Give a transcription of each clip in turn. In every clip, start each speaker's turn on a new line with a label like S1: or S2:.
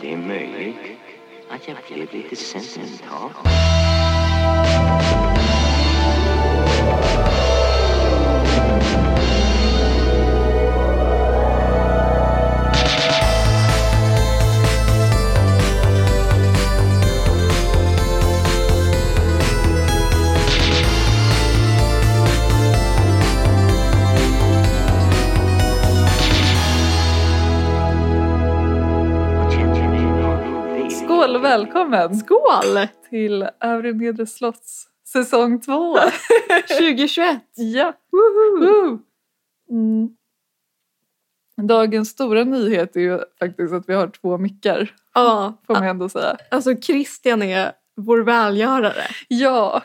S1: Det är möjligt att jag blev lite sentimental.
S2: Skål och välkommen
S3: Skål!
S2: till Övre Nedre Slotts säsong två.
S3: 2021!
S2: ja, woho! Mm. Dagens stora nyhet är ju faktiskt att vi har två mickar,
S3: Ja,
S2: får man ändå säga.
S3: alltså Christian är vår välgörare.
S2: Ja,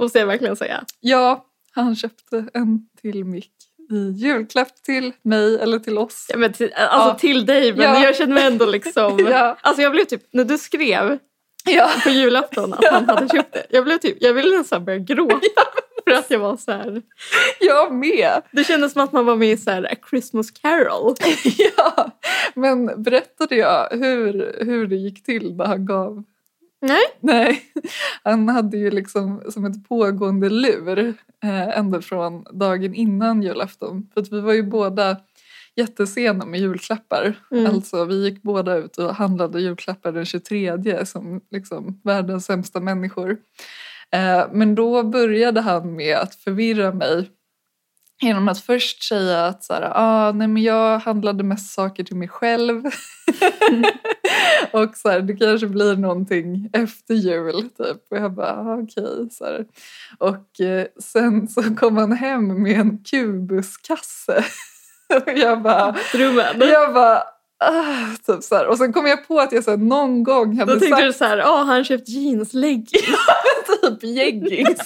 S3: Måste jag verkligen säga.
S2: ja, han köpte en till mick i julklapp till mig eller till oss.
S3: Ja, men till, alltså
S2: Ja.
S3: till dig, men
S2: Ja.
S3: jag känner mig ändå liksom...
S2: Ja.
S3: Alltså jag blev typ, när du skrev
S2: Ja,
S3: på julafton att han hade köpt det, jag blev typ, jag ville nästan börja gråta. För att jag var så här,
S2: jag med!
S3: det kändes som att man var med i så här A Christmas Carol.
S2: Ja. Men berättade jag hur, hur det gick till när han gav
S3: Nej.
S2: Nej, han hade ju liksom som ett pågående lur eh, ända från dagen innan julafton. För att vi var ju båda jättesena med julklappar.
S3: Mm.
S2: Alltså vi gick båda ut och handlade julklappar den 23 som liksom världens sämsta människor. Eh, men då började han med att förvirra mig genom att först säga att så här, ah, nej, men jag handlade mest saker till mig själv. och så här, det kanske blir någonting efter jul. Typ. Och jag bara, ah, okej. så här. Och eh, sen så kom han hem med en kubuskasse. och jag bara,
S3: Drömmen.
S2: jag bara ah, typ så här. Och sen kom jag på att jag så här, någon gång hade
S3: Då tänkte
S2: sagt
S3: du så här, ja han har köpt jeansleggings.
S2: typ jeggings.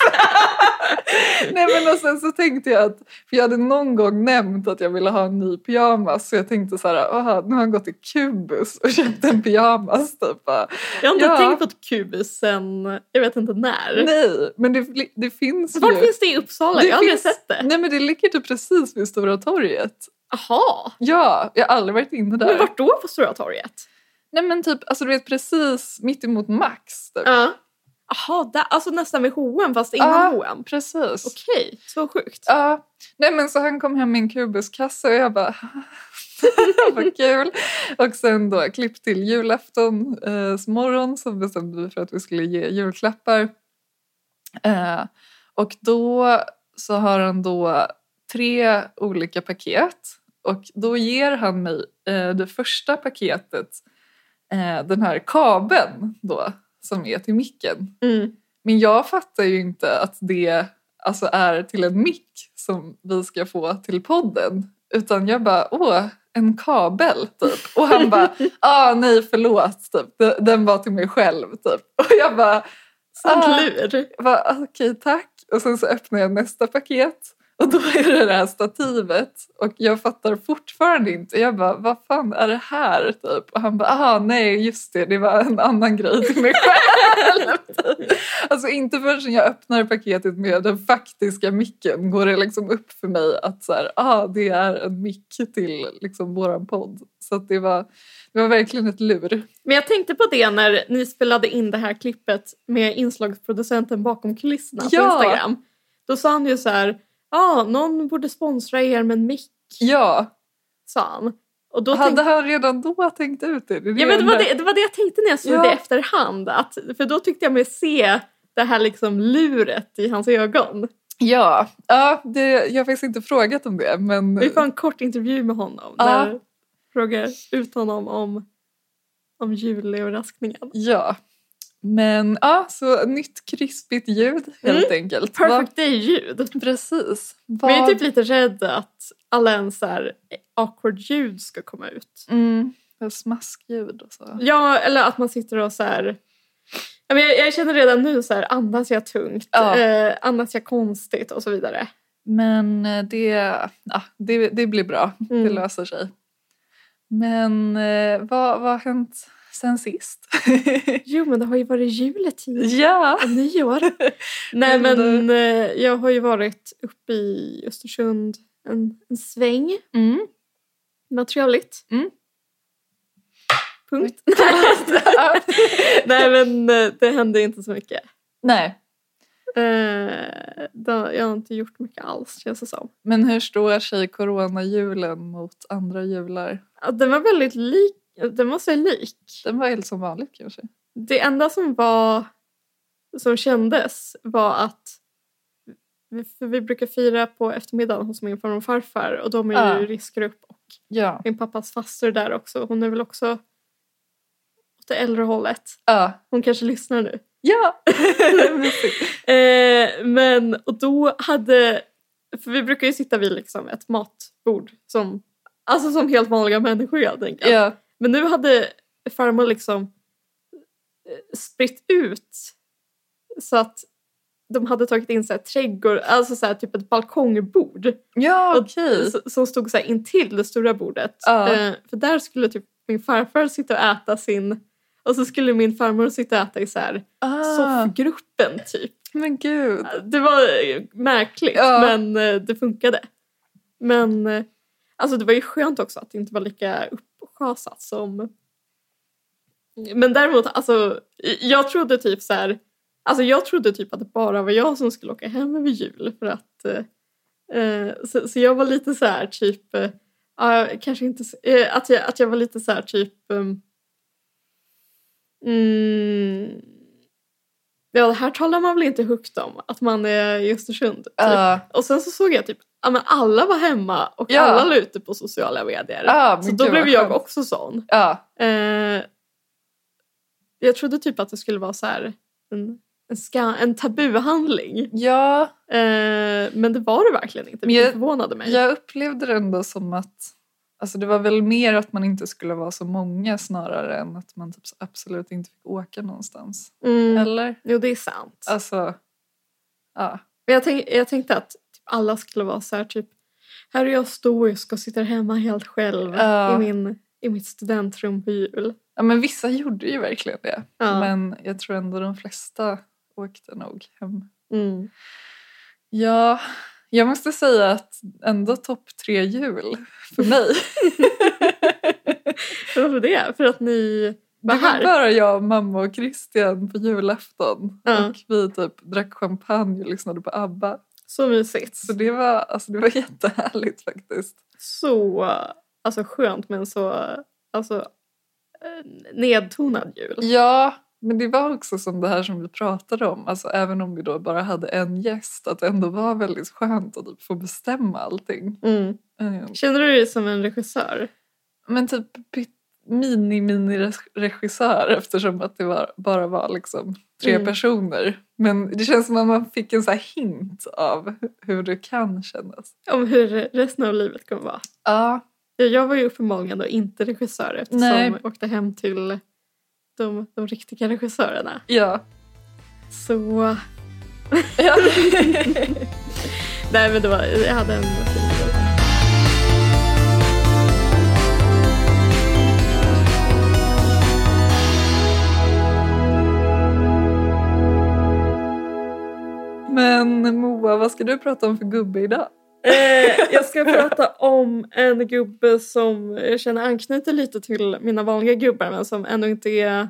S2: Nej men och sen så tänkte jag att, för jag hade någon gång nämnt att jag ville ha en ny pyjamas så jag tänkte så här, aha, nu har han gått till Kubus och köpt en pyjamas typ. Bara,
S3: Jag har inte
S2: Ja.
S3: tänkt på ett kubus sen, jag vet inte när.
S2: Nej, men det, det finns
S3: Var
S2: ju.
S3: finns det i Uppsala?
S2: Det
S3: jag har aldrig
S2: finns-
S3: sett det.
S2: Nej men det ligger typ precis vid Stora torget.
S3: Jaha,
S2: Ja, jag har aldrig varit inne där.
S3: men vart då på Stora torget?
S2: Nej men typ, alltså du vet precis mitt emot Max. Typ.
S3: Ja. Jaha, där, alltså nästan vid H&M fast innan
S2: Ja.
S3: H&M.
S2: Precis.
S3: Okej, så sjukt.
S2: Ja, nej men så han kom hem med en kubuskasse och jag bara vad kul. Och sen då klipp till julaftons eh, morgon så bestämde vi för att vi skulle ge julklappar. Eh, och då så har han då tre olika paket och då ger han mig eh, det första paketet eh, den här kabeln då som är till micken.
S3: Mm.
S2: Men jag fattar ju inte att det alltså, är till en mick som vi ska få till podden. Utan jag bara, åh, en kabel typ. Och han bara, ah nej förlåt, typ. "Den- den var till mig själv typ. Och jag bara,
S3: Sant
S2: Ah.
S3: lur.
S2: bara okej tack. Och sen så öppnar jag nästa paket. Och då är det det här stativet och jag fattar fortfarande inte. Jag bara, vad fan är det här? Typ. Och han bara, ah nej just det, det var en annan grej till mig själv. Typ. alltså inte förrän jag öppnar paketet med den faktiska micken går det liksom upp för mig att så här, ah, det är en mick till liksom våran podd. Så att det, var, det var verkligen ett lur.
S3: Men jag tänkte på det när ni spelade in det här klippet med inslagsproducenten bakom kulisserna på
S2: Ja.
S3: Instagram. Då sa han ju så här, ja någon borde sponsra er med en mick,
S2: Ja,
S3: sa han. Och då
S2: hade
S3: tänkte,
S2: han redan då tänkt ut det? det? är
S3: ja, men det,
S2: den
S3: var
S2: där-
S3: det, det var det jag tänkte när jag såg
S2: Ja.
S3: det i efterhand. Att, för då tyckte jag mig se det här liksom luret i hans ögon.
S2: Ja, ja det, jag har faktiskt inte frågat om det. Men,
S3: Vi får en kort intervju med honom.
S2: Ja.
S3: Där jag frågar ut honom om, om julöverraskningen.
S2: ja. men ja, så nytt krispigt ljud helt enkelt.
S3: Perfect day-ljud.
S2: Vad- precis. Vad,
S3: Mm. Men jag är typ lite rädd att alla ens så här awkward ljud ska komma ut.
S2: mm, vad smaskljud och så.
S3: Ja, eller att man sitter och så här... Ja, men Jag, jag känner redan nu så här, andas jag tungt?
S2: Ja.
S3: Eh, andas jag konstigt? Och så vidare.
S2: Men eh, det, ja, det, det blir bra.
S3: Mm.
S2: Det löser sig. Men eh, vad, vad har hänt sen sist?
S3: Jo, men det har ju varit juletid.
S2: ja!
S3: Och nyår. Nej
S2: Vill du-
S3: men eh, jag har ju varit uppe i Östersund en, en sväng.
S2: Mm.
S3: Mm. Det var trevligt.
S2: Mm.
S3: Punkt. Nej men eh, det hände inte så mycket.
S2: Nej,
S3: Eh, då, jag har inte gjort mycket alls känns det som.
S2: men hur står sig coronajulen mot andra jular?
S3: Ja, Den var väldigt lik, den var sig lik.
S2: Den var helt som vanligt kanske.
S3: Det enda som var som kändes var att vi, för vi brukar fira på eftermiddagen hos min farmor och farfar och de är ju
S2: Ja.
S3: riskgrupp och
S2: Ja,
S3: min pappas faster där också. Hon är väl också åt det äldre hållet.
S2: ja,
S3: Hon kanske lyssnar nu.
S2: ja.
S3: Eh, men och då hade, för vi brukar ju sitta vid liksom ett matbord som, alltså som helt vanliga människor helt enkelt.
S2: ja.
S3: Men nu hade farmor liksom eh, spritt ut så att de hade tagit in så här trädgård, alltså så här typ ett balkongbord
S2: ja
S3: Och-
S2: okej.
S3: s- som stod så här intill det stora bordet.
S2: Mm. Ja.
S3: Eh, för där skulle typ min farfar sitta och äta sin och så skulle min farmor sitta och äta i så här
S2: Ah,
S3: soffgruppen typ.
S2: men gud.
S3: Det var eh, märkligt
S2: Ja.
S3: men eh, det funkade. Men eh, alltså det var ju skönt också att det inte var lika uppschasat som... Men däremot alltså jag trodde typ så här... Alltså jag trodde typ att det bara var jag som skulle åka hem över jul för att... eh, Eh, så, så jag var lite så här typ... Eh, ja, kanske inte... s- Eh, att, jag, att jag var lite så här typ... ehm, mm, Ja, det här talar man väl inte högt om, att man är i Östersund. Typ.
S2: Ja,
S3: Och sen så såg jag typ, ja men alla var hemma och
S2: Ja.
S3: alla la ute på sociala medier.
S2: Ja, ah, men
S3: så då
S2: gud,
S3: blev
S2: vad
S3: jag
S2: skönt.
S3: också sån.
S2: ja,
S3: Eh, jag trodde typ att det skulle vara så här en, en, ska, en tabuhandling.
S2: ja.
S3: Eh, men det var det verkligen inte,
S2: Men
S3: vilket
S2: jag-
S3: förvånade mig.
S2: Jag upplevde det ändå som att Alltså det var väl mer att man inte skulle vara så många snarare än att man typ så absolut inte fick åka någonstans.
S3: mm.
S2: Eller?
S3: Jo, det är sant.
S2: Alltså, ja.
S3: Men jag, tänk, jag tänkte att typ alla skulle vara så här typ här är jag stoisk och sitter hemma helt själv
S2: Ja.
S3: i, min, i mitt studentrum på jul.
S2: ja men vissa gjorde ju verkligen det.
S3: Ja.
S2: Men jag tror ändå de flesta åkte nog hem.
S3: Mm.
S2: Ja, jag måste säga att ändå topp tre jul för mig.
S3: Varför det? För att ni var
S2: Det var
S3: här?
S2: bara jag, mamma och Christian på julafton.
S3: Ja.
S2: Och vi typ drack champagne och lyssnade på ABBA.
S3: Så mysigt.
S2: Så det var, alltså det var jättehärligt faktiskt.
S3: Så alltså, skönt men så alltså, eh, nedtonad jul.
S2: Ja, men det var också som det här som vi pratade om. Alltså även om vi då bara hade en gäst. Att det ändå var väldigt skönt att typ få bestämma allting.
S3: Mm.
S2: Eh,
S3: Känner du dig som en regissör?
S2: Men typ mini-mini-regissör eftersom att det var, bara var liksom tre
S3: Mm.
S2: personer. Men det känns som att man fick en så här hint av hur det kan kännas.
S3: Om hur resten av livet kommer vara?
S2: Ja,
S3: Ja, Jag var ju uppenbarligen då inte regissör eftersom
S2: Nej.
S3: jag åkte hem till de, de riktiga regissörerna.
S2: ja.
S3: Så...
S2: ja.
S3: Nej men det var, jag hade en fin jul.
S2: Men Moa, vad ska du prata om för gubbe idag?
S3: Eh, jag ska prata om en gubbe som jag känner anknyter lite till mina vanliga gubbar men som ändå inte är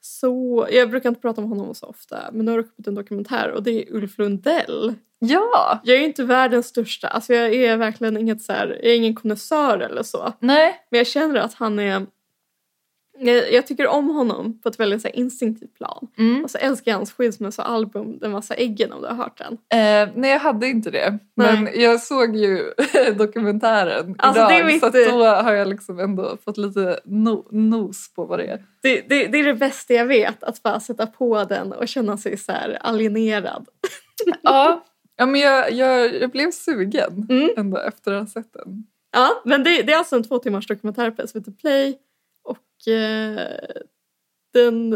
S3: så... Jag brukar inte prata om honom så ofta men nu har det kommit en dokumentär och det är Ulf Lundell.
S2: Ja!
S3: Jag är ju inte världens största, alltså jag är verkligen inget så här, jag är ingen konnässör eller så
S2: Nej.
S3: men jag känner att han är... Jag, jag tycker om honom på ett väldigt så här, instinktivt plan.
S2: Mm.
S3: Och så älskar jag hans skilsmässoalbum Den massa äggen om du har hört den.
S2: Eh, nej, jag hade inte det.
S3: Nej.
S2: Men jag såg ju dokumentären
S3: Alltså,
S2: idag
S3: det är mitt-
S2: så att då har jag liksom ändå fått lite no- nos på vad det är.
S3: Det, det, det är det bästa jag vet, att bara sätta på den och känna sig så här alienerad.
S2: Ja, ja men jag, jag, jag blev sugen
S3: Mm.
S2: ändå efter att ha sett den.
S3: Ja, men det, det är alltså en två timmars dokumentär på SVT Play och eh, den,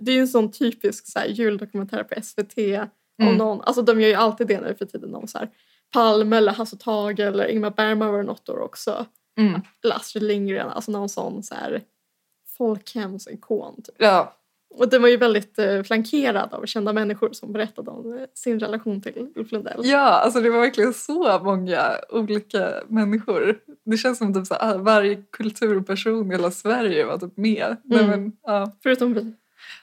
S3: det är ju en sån typisk så här, juldokumentär på SVT om
S2: Mm.
S3: någon, alltså de gör ju alltid det nu för tiden om så här, Palme eller Hasse Tage eller Ingmar Bergman var det något år också.
S2: Mm.
S3: Eller Astrid Lindgren, alltså någon sån så här folkhemsikon. Typ.
S2: Ja,
S3: Och den var ju väldigt eh, flankerad av kända människor som berättade om eh, sin relation till Ulf Lundell.
S2: Ja, alltså det var verkligen så många olika människor. Det känns som typ så här, varje kulturperson i hela Sverige var typ med. Nej,
S3: Mm.
S2: men, ja.
S3: Förutom vi.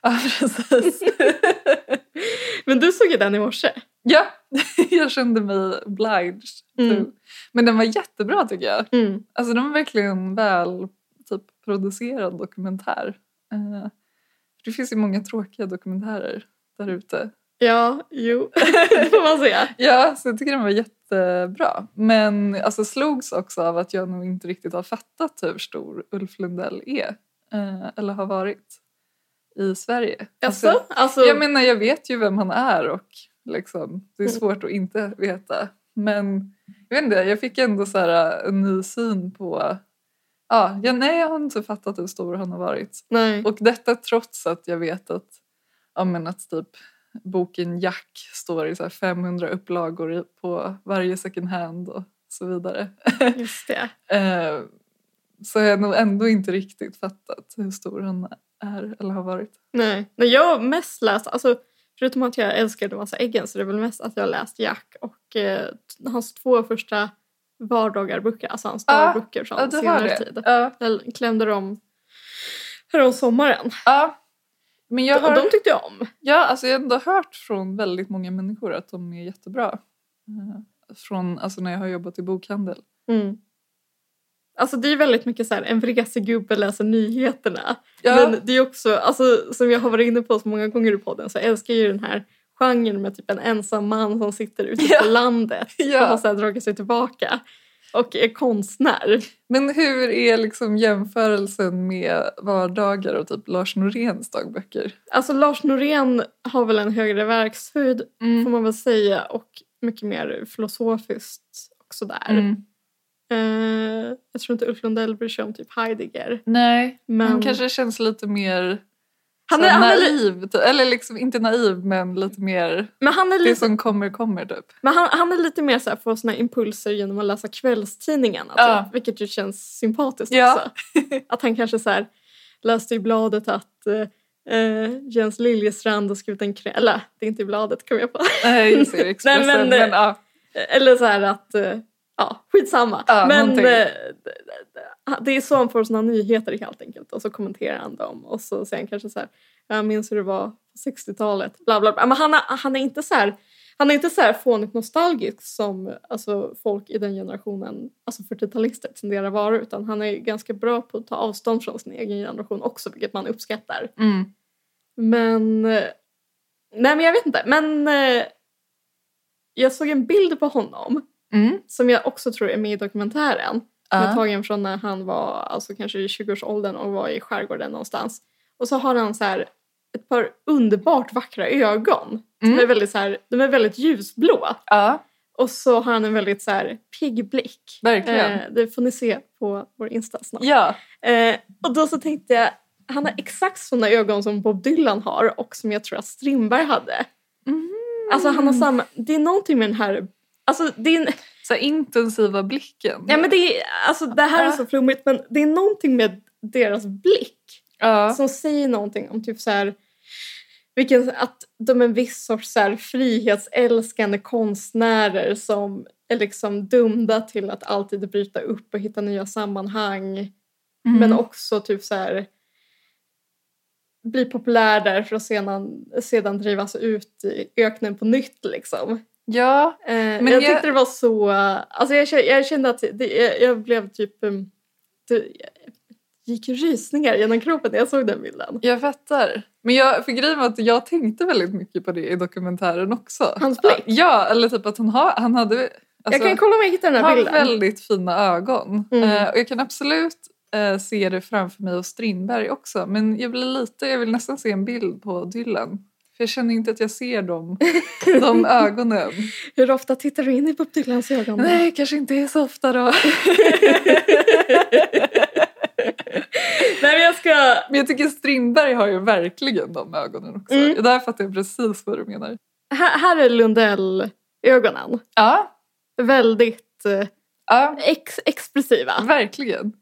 S2: ja, precis.
S3: Men du såg ju den i morse.
S2: ja, jag kände mig obliged. typ.
S3: Mm.
S2: Men den var jättebra tycker jag.
S3: Mm.
S2: Alltså den var verkligen väl typ, producerad dokumentär. Eh, det finns ju många tråkiga dokumentärer där ute.
S3: Ja, jo, det får man säga.
S2: Ja, så jag tycker den var jättebra. Men alltså slogs också av att jag nog inte riktigt har fattat hur stor Ulf Lundell är. eh, Eller har varit i Sverige.
S3: Jaså? Alltså,
S2: jag menar, jag vet ju vem han är och liksom, det är
S3: Mm.
S2: svårt att inte veta. Men jag vet inte, jag fick ändå så här, en ny syn på... Ja, ja, nej, jag har inte fattat hur stor han har varit.
S3: nej.
S2: Och detta trots att jag vet att, ja, men att typ boken Jack står i så här 500 upplagor i- på varje second hand och så vidare.
S3: Just det.
S2: Eh, så har jag nog ändå inte riktigt fattat hur stor han är eller har varit.
S3: Nej. Nej, jag har mest läst, alltså, förutom att jag älskade massa äggen så det är väl mest att jag har läst Jack och eh, t- hans två första vardagar-böcker, alltså hans
S2: Ja,
S3: dagböcker från
S2: Ja, du har
S3: senare
S2: det.
S3: tid.
S2: Ja,
S3: Jag klämde dem härom sommaren.
S2: ja. Men jag
S3: Och
S2: har,
S3: de tyckte jag om.
S2: ja, alltså jag har ändå hört från väldigt många människor att de är jättebra. Eh, Från, alltså när jag har jobbat i bokhandel.
S3: Mm. Alltså det är väldigt mycket så här, en vresig gubbe läser nyheterna.
S2: Ja,
S3: Men det är också, alltså, som jag har varit inne på så många gånger i podden så älskar jag ju den här genren med typ en ensam man som sitter ute
S2: Ja.
S3: på landet och har
S2: ja.
S3: så här, dragit sig tillbaka och är konstnär.
S2: Men hur är liksom jämförelsen med vardagar och typ Lars Noréns dagböcker?
S3: Alltså Lars Norén har väl en högre verkshöjd får
S2: Mm.
S3: man väl säga och mycket mer filosofiskt och sådär.
S2: Mm.
S3: Eh, jag tror inte Ulf Lundell bryr sig om typ Heidegger.
S2: Nej,
S3: Men
S2: han kanske känns lite mer
S3: han
S2: så
S3: är, han är, li-
S2: naiv. typ. Eller liksom inte naiv men lite mer
S3: men han är
S2: det
S3: lite
S2: som kommer kommer typ.
S3: Men han, han är lite mer så här, får sina impulser genom att läsa kvällstidningarna.
S2: Ja.
S3: Typ, vilket ju känns sympatiskt
S2: Ja.
S3: också. Att han kanske så här, läste i bladet att eh, eh, Jens Liljestrand har skrivit en krä- Eller det är inte i bladet kom jag på.
S2: Nej, just det, Expressen.
S3: Nej, men,
S2: men, ja.
S3: Eller så här att, eh, ja skitsamma.
S2: Ja,
S3: Men eh,
S2: någonting.
S3: d- d- det är så han får sina nyheter helt enkelt. Och så kommenterar han dem. Och så säger han kanske så här, jag minns hur det var på 60-talet. Bla, bla, bla. Men han, är- han är inte så här han är inte så här fånigt nostalgisk som alltså, folk i den generationen, alltså 40-talister, tenderar att vara utan han är ganska bra på att ta avstånd från sin egen generation också vilket man uppskattar.
S2: Mm.
S3: Men... eh, Nej, men jag vet inte. Men eh, jag såg en bild på honom
S2: Mm.
S3: som jag också tror är med i dokumentären. Som är
S2: Ja.
S3: tagen från när han var alltså kanske i 20-årsåldern och var i skärgården någonstans. Och så har han så här ett par underbart vackra ögon.
S2: Mm.
S3: De, är väldigt så här, de är väldigt ljusblå.
S2: ja,
S3: Och så har han en väldigt så här pigg blick.
S2: verkligen.
S3: Eh, det får ni se på vår Insta snart.
S2: Ja,
S3: Eh, och då så tänkte jag, han har exakt såna ögon som Bob Dylan har och som jag tror att Strindberg hade.
S2: Mhm.
S3: Alltså han har samma, det är någonting med den här, alltså det är, en-
S2: så här intensiva blicken.
S3: ja men det är, alltså det här är så flummigt men det är någonting med deras blick
S2: ja.
S3: som säger någonting om typ så här vilken, att de är en viss sorts så här frihetsälskande konstnärer som är liksom dömda till att alltid bryta upp och hitta nya sammanhang.
S2: Mm.
S3: Men också typ så här bli populär där för att sedan, sedan drivas ut i öknen på nytt liksom.
S2: ja.
S3: Eh,
S2: Men
S3: jag
S2: jag-
S3: tyckte det var så, alltså jag, kä- jag kände att det, jag, jag blev typ, um, det gick rysningar genom kroppen när jag såg den bilden.
S2: Jag fattar. Men jag, för grejen var att jag tänkte väldigt mycket på det i dokumentären också.
S3: Hans blick.
S2: Ja, eller typ att han, har, han hade... alltså-
S3: jag kan kolla om jag hittar den här
S2: har
S3: bilden.
S2: väldigt fina ögon.
S3: Mm.
S2: Eh, och jag kan absolut eh, se det framför mig och Strindberg också. Men jag blir lite, jag vill nästan se en bild på Dylan. För jag känner inte att jag ser dem, de ögonen.
S3: Hur ofta tittar du in i Bob Dylans ögon?
S2: Nej, kanske inte är så ofta då.
S3: Nej men jag ska,
S2: Men jag tycker Strindberg har ju verkligen de ögonen också.
S3: Mm.
S2: Där fattar jag precis vad du menar.
S3: här, här är Lundell-ögonen.
S2: Ja,
S3: Väldigt eh,
S2: ja
S3: ex- expressiva.
S2: verkligen.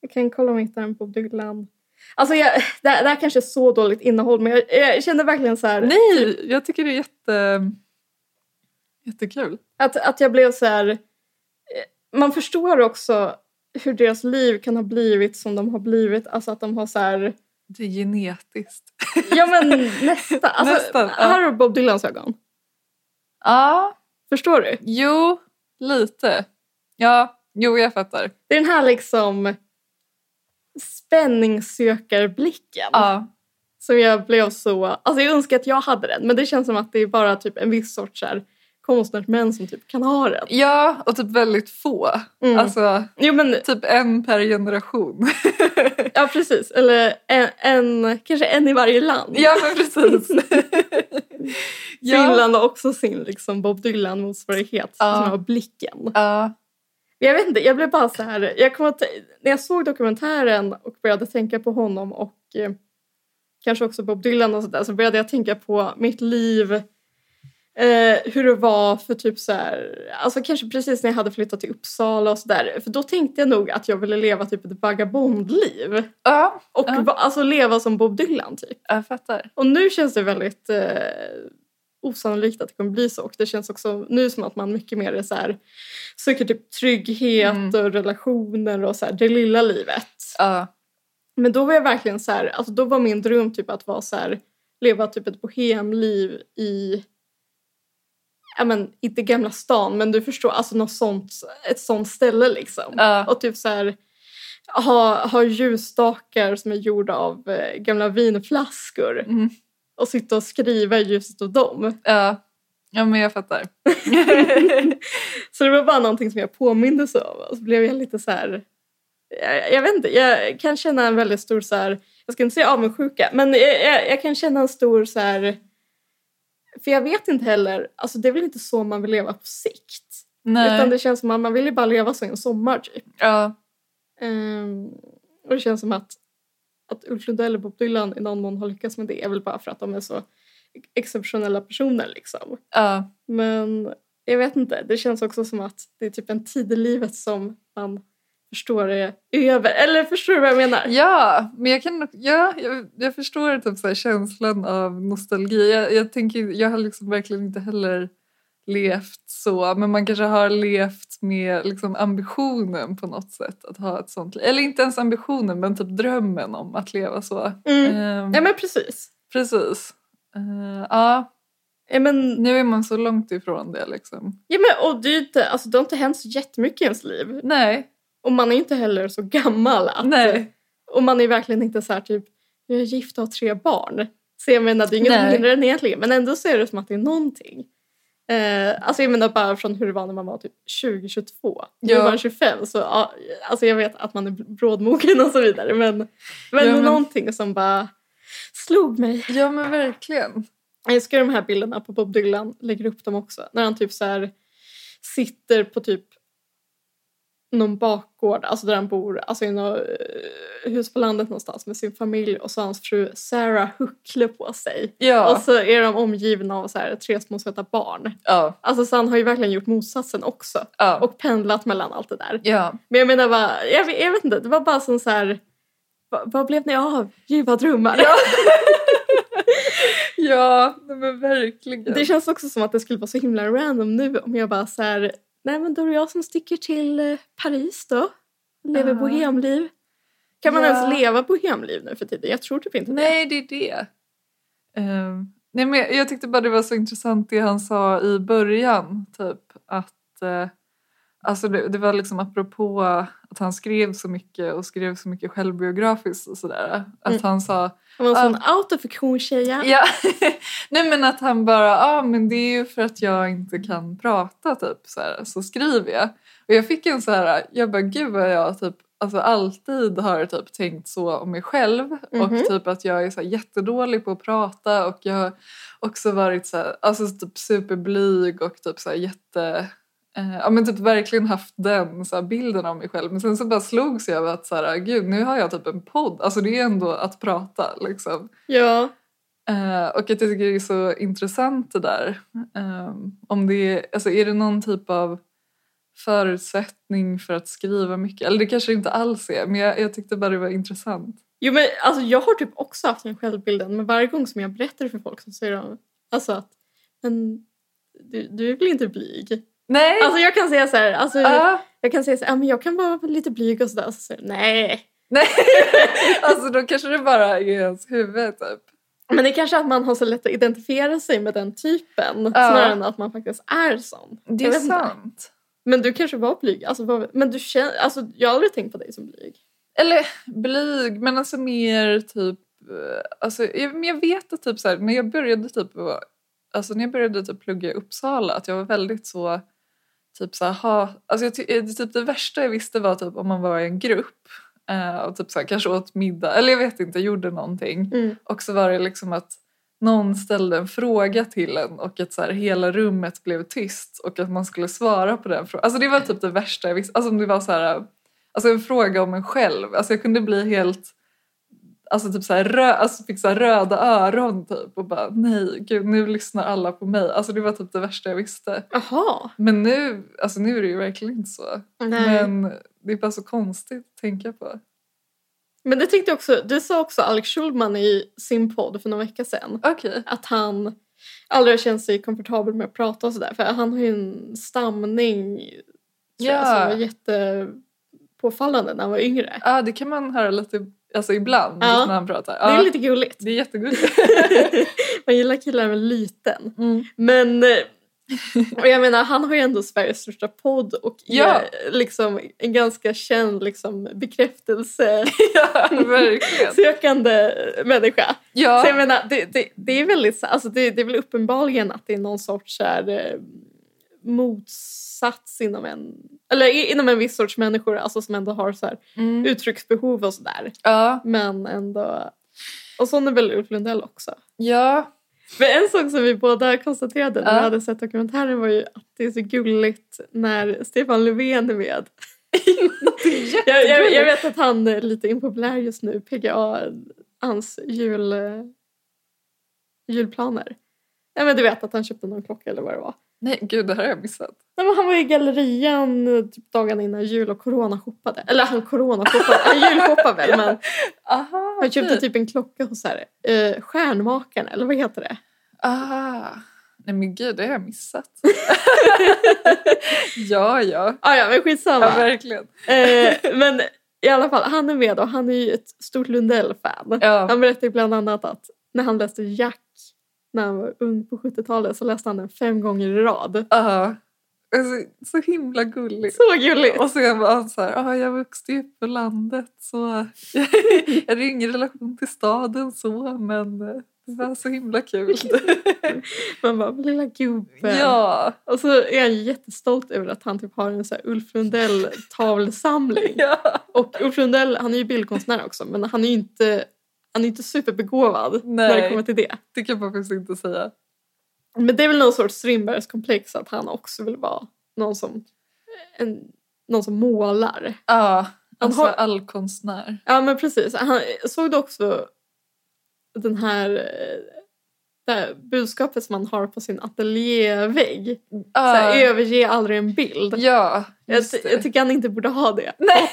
S3: Jag kan kolla om jag hittar en Bob Dylan. Alltså jag, det, här, det här kanske är så dåligt innehåll men jag, jag känner verkligen så här,
S2: Nej, Typ, jag tycker det är jätte, jättekul.
S3: att, att jag blev så här... eh, Man förstår också hur deras liv kan ha blivit som de har blivit. Alltså att de har så här...
S2: Det är genetiskt.
S3: Ja men nästan. Alltså,
S2: Nästan, ja.
S3: Här har Bob Dylans ögon.
S2: Ja,
S3: Förstår du?
S2: jo, lite. Ja, jo jag fattar.
S3: Det är den här liksom spänningssökarblicken.
S2: Ja,
S3: Som jag blev så... Alltså jag önskar att jag hade den. Men det känns som att det är bara typ en viss sorts så här, konstnärsmän som typ kan ha den.
S2: ja och typ väldigt få.
S3: Mm.
S2: Alltså
S3: Jo men
S2: typ en per generation.
S3: ja precis. Eller en, en, kanske en i varje land.
S2: ja, men precis. ja.
S3: Finland har också sin liksom, Bob Dylan-motsvarighet
S2: Ja.
S3: som har blicken. Men
S2: ja.
S3: Jag vet inte, jag blev bara så här... Jag kom att, när jag såg dokumentären och började tänka på honom och eh, kanske också Bob Dylan och sådär så började jag tänka på mitt liv. Eh, hur det var för typ så här, alltså kanske precis när jag hade flyttat till Uppsala och sådär. För då tänkte jag nog att jag ville leva typ ett vagabondliv.
S2: ja,
S3: Och
S2: Ja.
S3: va, alltså leva som Bob Dylan typ.
S2: jag fattar.
S3: Och nu känns det väldigt eh, osannolikt att det kommer bli så. Och det känns också nu som att man mycket mer är så här, söker typ trygghet
S2: Mm.
S3: och relationer och så här, det lilla livet.
S2: Ja,
S3: Men då var jag verkligen så här, alltså då var min dröm typ att vara så här, leva typ ett bohemliv i Ja, men, inte Gamla stan, men du förstår, alltså något sånt, ett sånt ställe liksom.
S2: ja,
S3: Och typ så här, ha, ha ljusstakar som är gjorda av eh, gamla vinflaskor.
S2: Mm.
S3: Och sitta och skriva i ljuset av dem.
S2: ja. ja men jag fattar.
S3: så det var bara någonting som jag påmindes av. Och så blev jag lite så här... Jag, jag vet inte, jag kan känna en väldigt stor så här... Jag ska inte säga avundsjuka, men jag, jag, jag kan känna en stor så här... För jag vet inte heller, alltså det är väl inte så man vill leva på sikt.
S2: Nej.
S3: Utan det känns som att man vill ju bara leva så en sommar typ.
S2: Ja,
S3: Ehm, och det känns som att, att Ulf Lundell och Bob Dylan i någon mån har lyckats med det är väl bara för att de är så exceptionella personer liksom.
S2: ja,
S3: Men jag vet inte, det känns också som att det är typ en tid i livet som man förstår är över. Eller förstår du vad jag menar?
S2: ja, men jag kan nog- ja, jag, jag förstår typ så här känslan av nostalgi. Jag, jag tänker, jag har liksom verkligen inte heller levt så, men man kanske har levt med liksom ambitionen på något sätt att ha ett sånt liv. Eller inte ens ambitionen, men typ drömmen om att leva så.
S3: Mm.
S2: Ehm,
S3: Ja men precis.
S2: Precis. Eh, ja,
S3: Ja men,
S2: nu är man så långt ifrån det liksom.
S3: ja, men och det, är ju inte, alltså, det har inte hänt så jättemycket i ens liv.
S2: Nej,
S3: Och man är ju inte heller så gammal. Att,
S2: nej.
S3: Och man är verkligen inte så här typ, jag är gift och har tre barn. Så jag menar, det är inget som
S2: Nej.
S3: hindrar den egentligen. Men ändå ser det som att det är någonting. Eh, alltså jag menar bara från hur det var när man var typ 20-22. Nu
S2: Ja.
S3: var jag 25 så ja, alltså jag vet att man är brådmogen och så vidare. Men, men,
S2: Ja, men-
S3: någonting som bara slog mig.
S2: Ja men verkligen.
S3: Jag älskar de här bilderna på Bob Dylan, lägger upp dem också. När han typ så här sitter på typ någon bakgård, alltså där han bor, alltså i något eh, hus på landet någonstans med sin familj och så har hans fru Sarah huckle på sig.
S2: Ja.
S3: Och så är de omgivna av så här tre små söta barn.
S2: ja,
S3: Alltså så han har ju verkligen gjort motsatsen också
S2: ja.
S3: och pendlat mellan allt det där.
S2: ja.
S3: Men jag menar bara, jag, vet- jag vet inte, det var bara som så här "Va- vad blev ni av? Ljuva drömmar.
S2: Ja, nej, men verkligen.
S3: Det känns också som att det skulle vara så himla random nu om jag bara så här, nej men då är det jag som sticker till eh, Paris då. Lever
S2: Ja.
S3: bohemliv. Kan man
S2: Ja.
S3: ens leva bohemliv nu för tiden? Jag tror typ inte det.
S2: Nej, det är det. Ehm, nej, men jag, jag tyckte bara det var så intressant det han sa i början. Typ att eh, alltså det, det var liksom apropå att han skrev så mycket och skrev så mycket självbiografiskt och sådär. Att
S3: Mm.
S2: han sa
S3: Han var en sån
S2: Ja.
S3: autofiktionstjeja.
S2: Ja. Nej men att han bara, ja ah, men det är ju för att jag inte kan prata typ så här, så skriver jag. Och jag fick en så här, jag bara gud vad jag typ Alltså alltid har typ tänkt så om mig själv
S3: Mhm.
S2: och typ att jag är så här jättedålig på att prata och jag har också varit så här, alltså typ superblyg och typ så här jätte eh, ja men typ verkligen haft den så här bilden av mig själv men sen så bara slogs jag av att så här gud nu har jag typ en podd alltså det är ändå att prata liksom
S3: Ja.
S2: Eh, och att jag tycker det är så intressant det där. Eh, om det är, alltså är det någon typ av förutsättning för att skriva mycket? Eller det kanske det inte alls är, men jag, jag tyckte bara det var intressant.
S3: Jo men alltså jag har typ också haft den självbilden men varje gång som jag berättar för folk så säger de alltså att men du, du är väl inte blyg?
S2: Nej!
S3: Alltså jag kan säga så här, alltså,
S2: Ah,
S3: jag kan säga så här, "Ja, men jag kan vara lite blyg och sådär. Så säger de, nej.
S2: nej. alltså då kanske det bara är i ens huvud typ.
S3: Men det är kanske att man har så lätt att identifiera sig med den typen snarare än att man faktiskt är sån.
S2: Det
S3: Jag
S2: är
S3: vet inte.
S2: sant.
S3: Men du kanske var blyg. Alltså, vad- men du känner, alltså, jag har aldrig tänkt på dig som blyg.
S2: Eller blyg, men alltså mer typ... eh, Alltså, jag, men jag vet att typ så här, när jag började typ vara- Alltså när jag började typ plugga i Uppsala att jag var väldigt så typ så här, ha, alltså jag, ty- eh, det- typ det värsta jag visste var typ om man var i en grupp eh, och typ så här, kanske åt middag eller jag vet inte, gjorde någonting
S3: Mm.
S2: och så var det liksom att någon ställde en fråga till en och att så här, hela rummet blev tyst och att man skulle svara på den frågan. Alltså det var typ det värsta jag visste. Alltså om det var så här, alltså en fråga om en själv. Alltså jag kunde bli helt, alltså typ så här, rö- alltså fick så här röda öron typ och bara nej, gud nu lyssnar alla på mig. Alltså det var typ det värsta jag visste.
S3: Jaha.
S2: Men nu, alltså nu är det ju verkligen inte så.
S3: Men,
S2: Men det är bara så konstigt att tänka på.
S3: men det tyckte jag också, det sa också Alex Schulman i sin podd för några veckor sedan.
S2: Okej.
S3: Att han aldrig har känt sig komfortabel med att prata och sådär. För han har ju en stamning tror jag,
S2: Ja.
S3: som var jättepåfallande när han var yngre.
S2: Ja, det kan man höra lite, alltså ibland
S3: Ja.
S2: när han pratar.
S3: Det
S2: Ja,
S3: är lite gulligt.
S2: det är jättegulligt.
S3: Man gillar killar med liten.
S2: Mm.
S3: Men eh, och jag menar, han har ju ändå Sveriges största podd och är
S2: Ja.
S3: liksom en ganska känd liksom, bekräftelsesökande
S2: Ja, verkligen.
S3: eh, människa. Så jag
S2: Ja,
S3: menar, det, det, det är väldigt, så- alltså det, det är väl uppenbarligen att det är någon sorts så här, eh, motsats inom en, eller i- inom en viss sorts människor alltså som ändå har så här,
S2: mm.
S3: uttrycksbehov och sådär.
S2: ja,
S3: Men ändå, och sån är väl Ulf Lundell också.
S2: ja.
S3: Men en sak som vi båda konstaterade när
S2: Ja.
S3: vi hade sett dokumentären var ju att det är så gulligt när Stefan Löfven är med. jag, jag, jag vet att han är lite impopulär just nu, PGA, hans jul, eh, julplaner. Nej men du vet att han köpte någon klocka eller vad det var.
S2: Nej, gud, det här har jag missat.
S3: Nej, men han var i gallerian eh, typ dagarna innan jul och coronashoppade. Eller han coronashoppade, han julshoppade väl men
S2: Aha,
S3: han köpte
S2: okej.
S3: typ en klocka hos så här, eh, stjärnmakaren eller vad heter det?
S2: Ah. Nej men gud, det har jag missat. ja, ja.
S3: Ah, ja men
S2: Ja,
S3: skitsamma.
S2: verkligen.
S3: Eh, men i alla fall, han är med och han är ju ett stort Lundell-fan.
S2: Ja.
S3: Han berättade bland annat att när han läste Jack när han var ung på 70-talet så läste han den fem gånger i rad.
S2: Ja. Alltså, så himla gulligt.
S3: Så gulligt!
S2: Och sen var han så här, ah, jag växte ju upp på landet så jag hade ju ingen relation till staden så men eh, det var så himla kul.
S3: Man bara, lilla gubben.
S2: ja.
S3: Och så är han jättestolt över att han typ har en så här Ulf Lundell-tavelsamling.
S2: ja.
S3: Och Ulf Lundell, han är ju bildkonstnär också men han är ju inte, han är inte superbegåvad när det
S2: Nej.
S3: kommer till det.
S2: Det kan man faktiskt inte säga.
S3: Men det är väl någon sorts Strindbergskomplex att han också vill vara någon som, en, någon som målar.
S2: Ja, alltså
S3: har-
S2: all konstnär.
S3: Ja men precis. Han, såg du också den här, eh, det här budskapet som han har på sin ateljévägg? Så här,
S2: Ja.
S3: överge aldrig en bild.
S2: Ja,
S3: jag,
S2: just
S3: ty-
S2: det.
S3: jag tycker han inte borde ha det.
S2: Nej.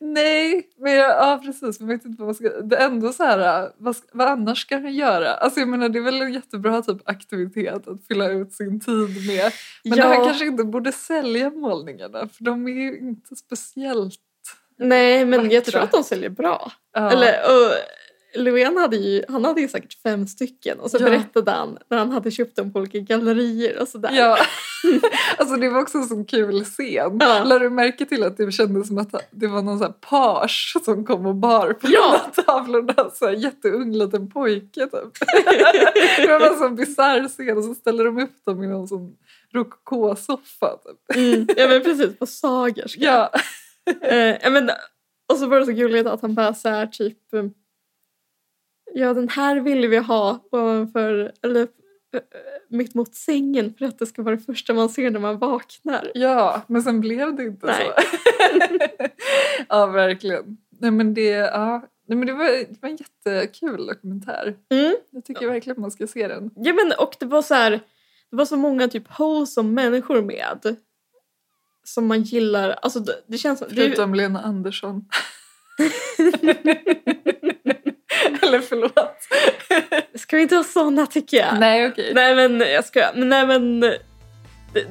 S2: Nej, men jag, ja precis. Men jag vet inte vad man ska, det är ändå så här, vad, ska- vad annars ska han göra? Alltså jag menar det är väl en jättebra typ aktivitet att fylla ut sin tid med. Men han kanske inte borde sälja målningarna för de är ju inte speciellt.
S3: Nej men jag
S2: Vackra.
S3: tror att de säljer bra.
S2: Ja.
S3: Eller, och Löfven hade ju, han hade ju säkert fem stycken och så
S2: Ja.
S3: berättade han när han hade köpt dem på olika gallerier och sådär.
S2: Ja. Alltså det var också en sån kul scen.
S3: Ja.
S2: Lade du märke till att det kändes som att det var någon sån här page som kom och bar på
S3: Ja.
S2: de här tavlorna? Så här alltså, jätteung liten pojke typ. det var en sån bisarr scen och så ställer de upp dem i någon sån rokokosoffa. Typ.
S3: Mm. Ja men precis, på Sagerska.
S2: Ja.
S3: Eh, ja, men, och så var det så gulligt att han bara så här typ eh, Ja den här ville vi ha ovanför eller eh, mitt mot sängen för att det ska vara det första man ser när man vaknar.
S2: ja, men sen blev det inte
S3: Nej.
S2: så. ja, verkligen. Nej men det, ja. Nej, men det, var, det var en jättekul dokumentär.
S3: Mm.
S2: Jag tycker verkligen man ska se den.
S3: Ja men och det var så här det var så många typ wholesome människor med som man gillar. Alltså det, det känns som... det är ju-
S2: Förutom Lena Andersson. Eller förlåt.
S3: Ska vi inte ha såna tycker jag?
S2: Nej okej.
S3: Nej men jag skojar. Men, nej, men, det,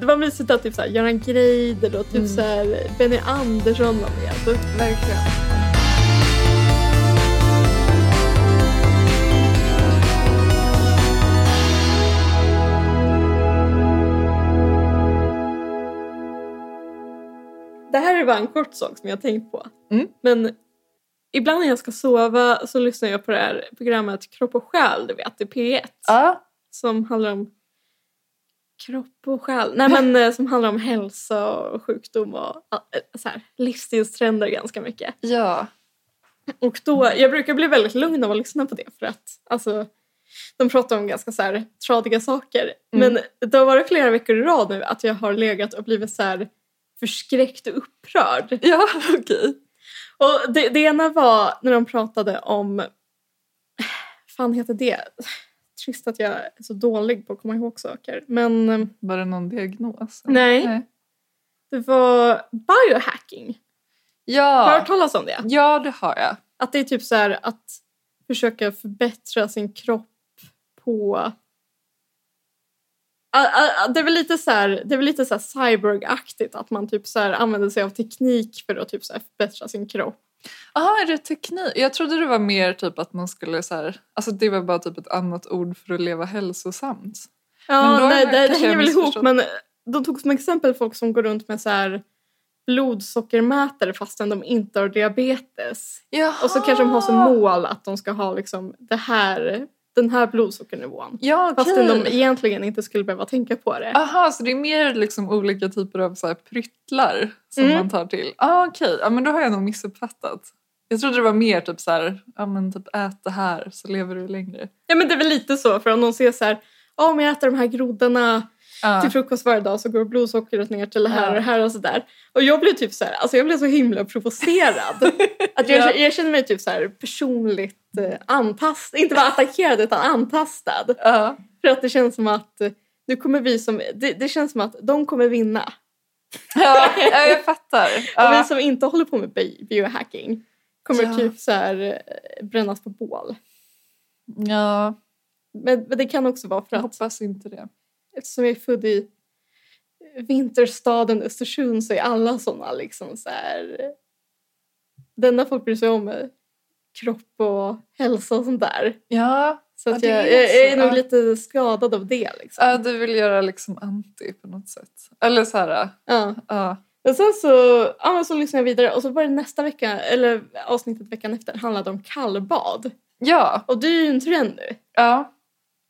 S3: det var mysigt att typ såhär, Göran Greider och typ
S2: Mm.
S3: såhär, Benny Andersson var med. Alltså,
S2: Verkligen.
S3: det här är bara en kort sak som jag har tänkt på.
S2: Mm.
S3: Men ibland när jag ska sova så lyssnar jag på det här programmet Kropp och själ, du vet, i P1.
S2: Ja.
S3: Som handlar om kropp och själ. Nej men eh, som handlar om hälsa och sjukdom och eh, så här, livsstilstrender ganska mycket.
S2: ja.
S3: Och då, jag brukar bli väldigt lugn av att lyssna på det för att alltså, de pratar om ganska så här tradiga saker.
S2: Mm.
S3: Men det har varit flera veckor i rad nu att jag har legat och blivit så här förskräckt och upprörd.
S2: Ja okej.
S3: Och det, det ena var när de pratade om, fan heter det? Trist att jag är så dålig på att komma ihåg saker. Men eh,
S2: Var det någon diagnos?
S3: Nej. det var biohacking. Har du
S2: Ja.
S3: hört talas om det?
S2: ja, det har jag.
S3: Att det är typ så här att försöka förbättra sin kropp på... Ah, ah, ah, Det är väl lite så här, det är väl lite så här cyborg-aktigt att man typ så här använder sig av teknik för att typ så här förbättra sin kropp.
S2: Jaha, är det teknik? Jag trodde det var mer typ att man skulle så här, alltså det var bara typ ett annat ord för att leva hälsosamt. Men
S3: Ja,
S2: då är
S3: nej,
S2: det-
S3: det,
S2: kanske
S3: hänger
S2: jag
S3: väl ihop
S2: missförstått.
S3: men de tog som exempel folk som går runt med så här blodsockermätare fastän de inte har diabetes.
S2: Jaha.
S3: Och så kanske de har
S2: Ah.
S3: som mål att de ska ha liksom det här, den här blodsockernivån.
S2: Ja,
S3: Fastän
S2: okej.
S3: de egentligen inte skulle behöva tänka på det.
S2: Aha, så det är mer liksom olika typer av så här pryttlar som
S3: Mm.
S2: man tar till? Ah, Okej, ja, men då har jag nog missuppfattat. Jag trodde det var mer typ så här, ja men typ ät det här så lever du längre.
S3: Ja men det är väl lite så för om någon ser så här, ja om jag äter de här groddarna
S2: Ja.
S3: till frukost varje dag så går blodsockret ner till det här
S2: Ja.
S3: och det här och sådär. Och jag blev typ så här, alltså jag blev så himla provocerad. att jag,
S2: Ja.
S3: jag känner mig typ så här personligt eh, antastad, inte bara attackerad utan antastad.
S2: Ja.
S3: För att det känns som att eh, nu kommer vi som, det, det känns som att de kommer vinna.
S2: Ja, ja, jag fattar.
S3: Och vi
S2: Ja.
S3: som inte håller på med bi- biohacking kommer
S2: Ja.
S3: typ så här eh, brännas på bål.
S2: ja,
S3: Men, men det kan också vara för
S2: jag
S3: att
S2: hoppas inte det.
S3: eftersom jag är född i vinterstaden Östersund så är alla såna liksom så här... Det enda folk bryr sig om är kropp och hälsa och sånt där.
S2: Ja,
S3: Så
S2: Ja,
S3: att
S2: det
S3: jag,
S2: är
S3: jag, jag är
S2: så,
S3: nog
S2: ja.
S3: lite skadad av det liksom.
S2: ja, du vill göra liksom anti på något sätt. Eller så här,
S3: Ja.
S2: ja.
S3: Men sen så, ja, men så lyssnade jag vidare och så var det nästa vecka, eller avsnittet veckan efter, handlade om kallbad.
S2: Ja,
S3: Och det är ju en trend nu.
S2: ja.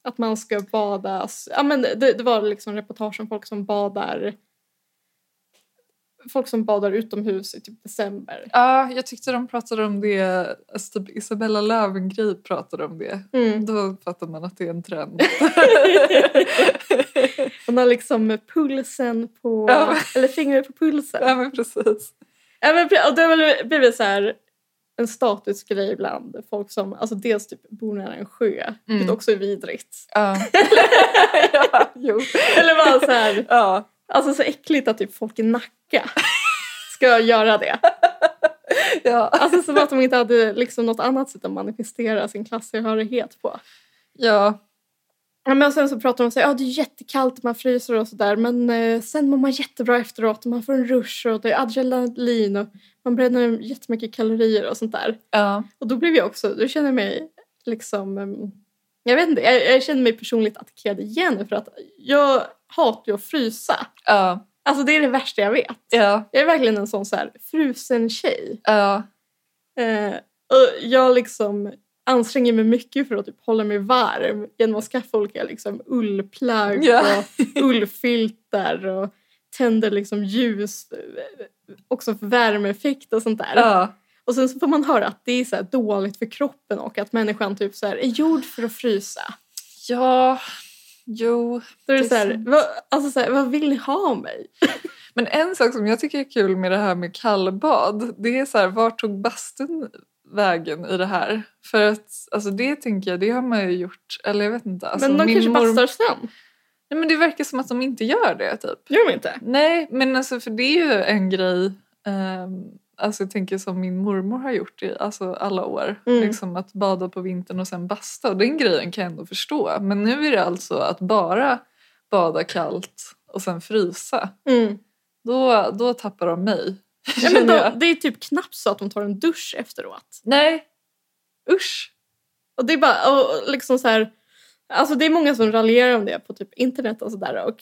S3: Att man ska bada... Ja, men det, det var liksom reportage om folk som badar... Folk som badar utomhus i typ december.
S2: ja jag tyckte de pratade om det, alltså typ Isabella Löwengrip pratade om det.
S3: Mm.
S2: Då fattar man att det är en trend.
S3: Hon har liksom pulsen på...
S2: Ja, men-
S3: Eller fingret på pulsen.
S2: ja, men precis.
S3: Ja, men, pre- och det har väl blivit så här en statusgrej bland folk som alltså dels typ bor nära en sjö, vilket
S2: Mm.
S3: också är vidrigt.
S2: Ja. ja, jo.
S3: Eller bara så här,
S2: Ja.
S3: alltså så äckligt att typ folk i Nacka ska göra det.
S2: Ja.
S3: Alltså som att de inte hade liksom något annat sätt att manifestera sin klasstillhörighet på.
S2: ja.
S3: Ja, men sen så pratar de om att ja det är jättekallt, man fryser och sådär men eh, sen mår man jättebra efteråt och man får en rush och det är adrenalin och man bränner jättemycket kalorier och sånt där.
S2: Ja.
S3: Och då blev jag också, då känner jag mig liksom, ehm, jag vet inte, jag, jag känner mig personligt attackerad igen för att jag hatar ju att frysa.
S2: Ja.
S3: Alltså det är det värsta jag vet.
S2: Ja.
S3: Jag är verkligen en sån så här frusen tjej.
S2: Ja.
S3: Eh, och jag liksom anstränger mig mycket för att typ hålla mig varm genom att skaffa olika liksom, ullplagg
S2: Ja.
S3: och ullfiltar och tänder liksom ljus eh, också för värmeeffekt och sånt där.
S2: Ja.
S3: Och sen så får man höra att det är så här dåligt för kroppen och att människan typ så här är gjord för att frysa.
S2: Ja. Jo.
S3: Då är det,
S2: Det är
S3: så här,
S2: sant.
S3: vad, alltså så här, vad vill ni ha av mig?
S2: Men en sak som jag tycker är kul med det här med kallbad, det är så här, vart tog bastun vägen i det här? För att alltså det tänker jag, det har man ju gjort, eller jag vet inte. Alltså,
S3: Men de
S2: min
S3: kanske
S2: morm-
S3: bastar sen.
S2: Nej, men det verkar som att de inte gör det typ.
S3: Gör de inte?
S2: Nej, men alltså för det är ju en grej. ehm, alltså jag tänker som min mormor har gjort i alltså alla år.
S3: Mm.
S2: Liksom att bada på vintern och sen basta. Och den grejen kan jag ändå förstå. Men nu är det alltså att bara bada kallt och sen frysa.
S3: Mm.
S2: Då, då tappar de mig.
S3: Ja, men
S2: känner
S3: då,
S2: jag.
S3: det är typ knappt så att de tar en dusch efteråt.
S2: Nej, usch.
S3: Och det är bara och och liksom så här, alltså det är många som raljerar om det på typ internet och sådär. Och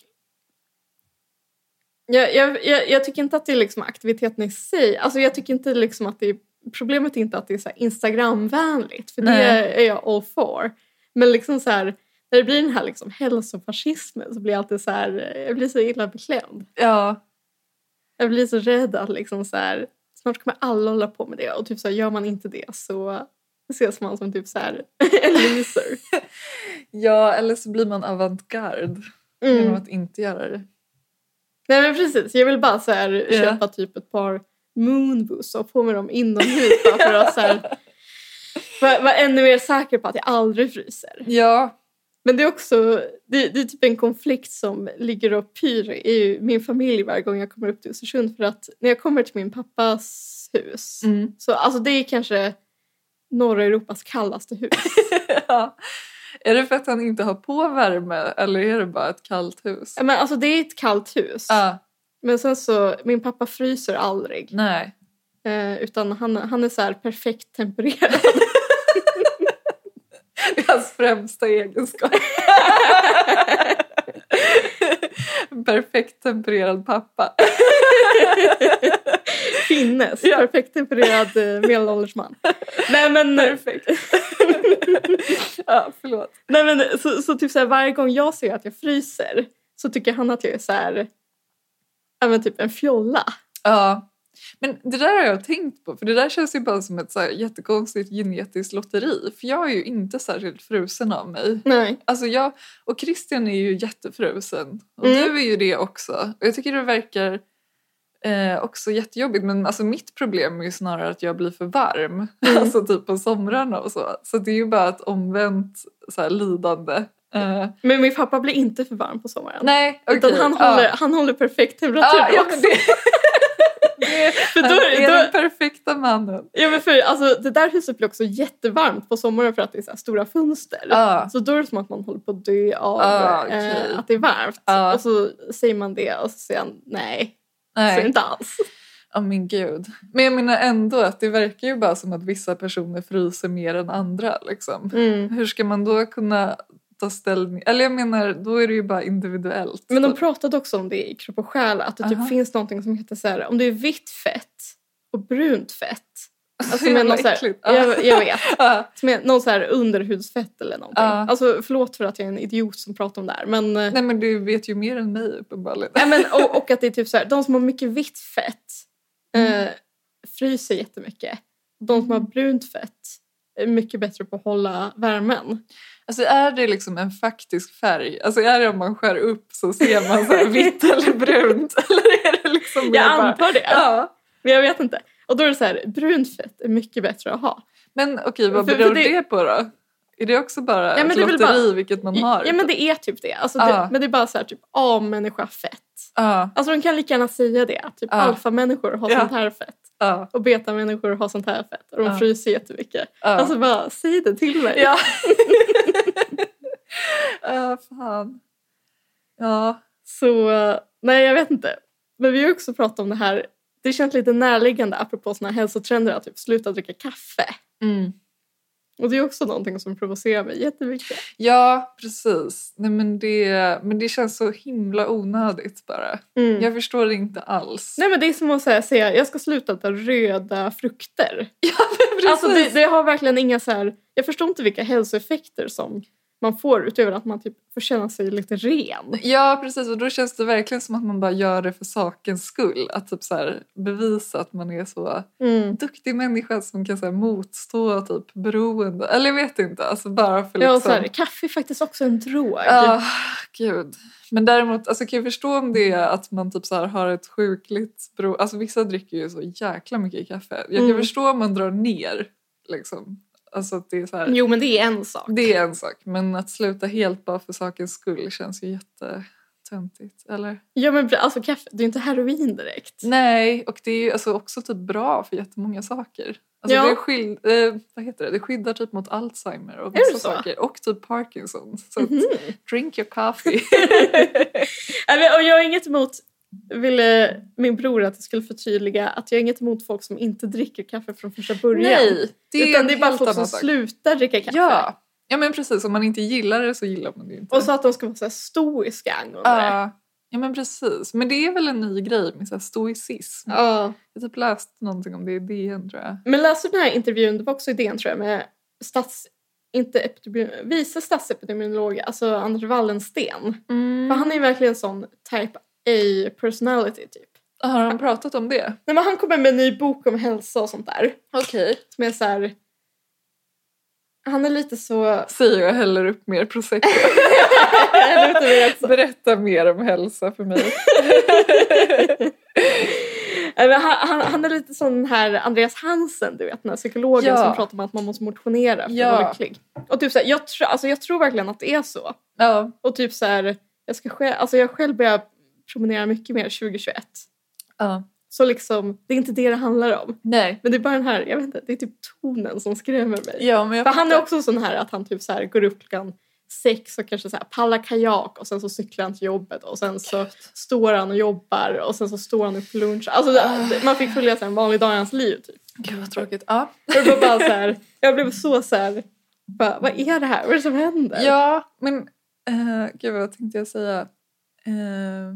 S3: jag, jag, jag, jag tycker inte att det är liksom aktiviteten i sig. Alltså jag tycker inte liksom att det är, problemet är inte att det är så här Instagramvänligt. För det
S2: Nej.
S3: är jag all for. Men liksom så här, när det blir den här liksom hälsofascismen så blir jag alltid så här, jag blir så illa beklämd.
S2: Ja,
S3: Jag blir så rädd att liksom så här, snart kommer alla hålla på med det. Och typ så här, gör man inte det så ses man som typ så här en loser.
S2: ja eller så blir man avantgarde genom
S3: Mm.
S2: att inte göra det.
S3: Nej men precis, jag vill bara så här,
S2: Ja.
S3: köpa typ ett par moonboots och få med dem inomhus bara för att så här, vara vara ännu mer säker på att jag aldrig fryser.
S2: Ja,
S3: Men det är också, det, det är typ en konflikt som ligger och pyr i min familj varje gång jag kommer upp till Östersund för att när jag kommer till min pappas hus
S2: mm.
S3: så alltså det är kanske norra Europas kallaste hus.
S2: ja. Är det för att han inte har på värme eller är det bara ett kallt hus?
S3: Ja, men alltså det är ett kallt hus
S2: Ah,
S3: men sen så, min pappa fryser aldrig.
S2: nej.
S3: Eh, utan han, han är så här perfekt tempererad.
S2: Det är hans främsta egenskap. En Perfekt tempererad pappa.
S3: Finnes.
S2: Ja.
S3: Perfekt tempererad eh, medelålders man. Nej men, eh,
S2: Perfekt. ja, förlåt.
S3: nej, men så, så typ så här, varje gång jag ser att jag fryser så tycker han att jag är så här, ja, men typ en fjolla.
S2: Ja. Men det där har jag tänkt på, för det där känns ju bara som ett så här jättekonstigt genetiskt lotteri. För jag är ju inte särskilt frusen av mig.
S3: Nej.
S2: Alltså jag, och Christian är ju jättefrusen. Och
S3: Mm.
S2: du är ju det också. Och jag tycker det verkar eh, också jättejobbigt. Men alltså mitt problem är ju snarare att jag blir för varm.
S3: Mm.
S2: Alltså typ på somrarna och så. Så det är ju bara ett omvänt så här, lidande. Eh,
S3: Men min pappa blir inte för varm på sommaren.
S2: nej, okej.
S3: Utan han
S2: ja.
S3: håller, han håller perfekt temperatur
S2: Ja, ja, men
S3: också.
S2: det, det,
S3: För då,
S2: han är
S3: då,
S2: den perfekta mannen.
S3: ja, men för, alltså, det där huset blir också jättevarmt på sommaren för att det är så här stora fönster.
S2: Ja.
S3: Så då är det som att man håller på att dö av
S2: Ja, okej.
S3: eh, att det är varmt.
S2: Ja.
S3: Och så säger man det och så säger han nej. Så är det
S2: Nej,
S3: inte alls.
S2: ja men gud. Men jag menar ändå att det verkar ju bara som att vissa personer fryser mer än andra liksom. Hur ska man då kunna ta ställning? Eller jag menar, då är det ju bara individuellt.
S3: Men de pratade också om det i Kropp och själ, att det typ
S2: Aha.
S3: finns någonting som heter så här, om det är vitt fett och brunt fett. Alltså
S2: Jävla
S3: med någon så här,
S2: äckligt.
S3: jag, jag vet,
S2: Ja,
S3: med någon så här underhudsfett eller någonting.
S2: Ja.
S3: Alltså förlåt för att jag är en idiot som pratar om det här men, eh, nej.
S2: nej men du vet ju mer än mig uppenbarligen.
S3: men och, och att det är typ så här, de som har mycket vitt fett
S2: Mm.
S3: eh, fryser jättemycket. De som har brunt fett är mycket bättre på att hålla värmen.
S2: Alltså är det liksom en faktisk färg? Alltså är det om man skär upp så ser man så här vitt eller brunt? Eller är det liksom mer
S3: Jag
S2: bara-
S3: antar det.
S2: Ja.
S3: Men jag vet inte. Och då är det så här, brunt fett är mycket bättre att ha.
S2: Men okej, vad
S3: För- för
S2: beror
S3: det-
S2: det... på då? Är det också bara
S3: Ja, men
S2: ett
S3: det är väl
S2: lotteri
S3: bara-
S2: vilket man har?
S3: Ja men det är typ det. Alltså, det
S2: Ja.
S3: men det är bara så här typ A-människa fett.
S2: Ja,
S3: Alltså de kan lika gärna säga det. Typ
S2: Ja.
S3: alfamänniskor har
S2: Ja.
S3: sånt här fett.
S2: ja,
S3: Och betamänniskor har sånt här fett. Och de
S2: Ja.
S3: fryser jättemycket.
S2: ja.
S3: Alltså bara säg det till mig.
S2: Ja. Ja, fan. Ja.
S3: Så eh, nej jag vet inte. Men vi har ju också pratat om det här. Det känns lite närliggande apropå såna här hälsotrender att typ sluta dricka kaffe. Mm. Och det är också någonting som provocerar mig jättemycket.
S2: Ja, precis. Nej, men, det, men det känns så himla onödigt bara.
S3: Mm.
S2: Jag förstår det inte alls.
S3: Nej men det är som att säga, säga jag ska sluta äta röda frukter.
S2: precis.
S3: Alltså det, det har verkligen inga så här, jag förstår inte vilka hälsoeffekter som man får utöver att man typ får känna sig lite ren.
S2: Ja, precis. Och då känns det verkligen som att man bara gör det för sakens skull. Att typ så här, bevisa att man är så duktig människa som kan så här, motstå typ beroende. Eller jag vet inte. Alltså bara för liksom...
S3: Ja, så här, kaffe är faktiskt också en drog.
S2: Ja, gud. Men däremot alltså, kan jag förstå om det är att man typ så här har ett sjukligt bero... Alltså vissa dricker ju så jäkla mycket kaffe. Jag kan
S3: Mm.
S2: förstå om man drar ner liksom. Alltså att det är så här,
S3: Jo men det är en sak.
S2: det är en sak. Men att sluta helt bara för sakens skull känns ju jättetöntigt. Eller?
S3: Ja men alltså kaffe, det är ju inte heroin direkt.
S2: Nej, och det är ju alltså också typ bra för jättemånga saker. Alltså
S3: Ja.
S2: det, skyld, eh, vad heter det? det skyddar typ mot Alzheimer och
S3: det
S2: vissa
S3: så?
S2: saker. Och typ Parkinson. Så att,
S3: Mhm.
S2: drink your coffee.
S3: Nej, men- och jag har inget emot, ville min bror att jag skulle förtydliga, att jag har inget emot folk som inte dricker kaffe från första början.
S2: Nej, det är,
S3: utan det är
S2: en
S3: bara
S2: helt
S3: folk som
S2: annan sak.
S3: slutar dricka kaffe.
S2: Ja. ja, men precis. Om man inte gillar det så gillar man det ju inte.
S3: Och så att de ska vara så här stoiska angående det.
S2: Ja. ja, men precis. Men det är väl en ny grej med så här stoicism.
S3: Ja.
S2: Jag har typ läst någonting om det i DN tror jag.
S3: Men läste du den här intervjun, det var också idén tror jag, med stats, inte epidemi, vice statsepidemiolog, alltså Anders Wallensten. För
S2: Mm.
S3: han är ju verkligen sån type A personality typ.
S2: Har han pratat om det?
S3: Nej, men han kommer med en ny bok om hälsa och sånt där.
S2: Okej.
S3: Som är så här... Han är lite så...
S2: Säger jag häller upp mer prosecco.
S3: Eller vet du vad jag sa?
S2: Berätta mer om hälsa för mig.
S3: Nej, men han, han, han är lite som den här Andreas Hansen, du vet den här psykologen
S2: Ja.
S3: som pratar om att man måste motionera för att
S2: Ja.
S3: vara lycklig. Och typ så här, jag, tr- alltså, jag tror verkligen att det är så.
S2: ja.
S3: Och typ så här, jag, ska själv, alltså, jag själv börjar promenera mycket mer 2021.
S2: ja.
S3: Så liksom, det är inte det det handlar om.
S2: Nej.
S3: Men det är bara den här, jag vet inte, det är typ tonen som skrämmer mig.
S2: Ja, men jag
S3: För han är
S2: fattar.
S3: också sån här att han typ så här går upp klockan sex och kanske så här pallar kajak och sen så cyklar han till jobbet och sen så står han och jobbar och sen så står han upp för lunch. Alltså det- det- man fick följa så här en vanlig dag i hans liv typ.
S2: Gud vad tråkigt. Ja.
S3: Och det var bara så här, jag blev så så här, bara, vad är det här? Vad är det som händer?
S2: Ja, men eh, gud vad tänkte jag säga? Eh,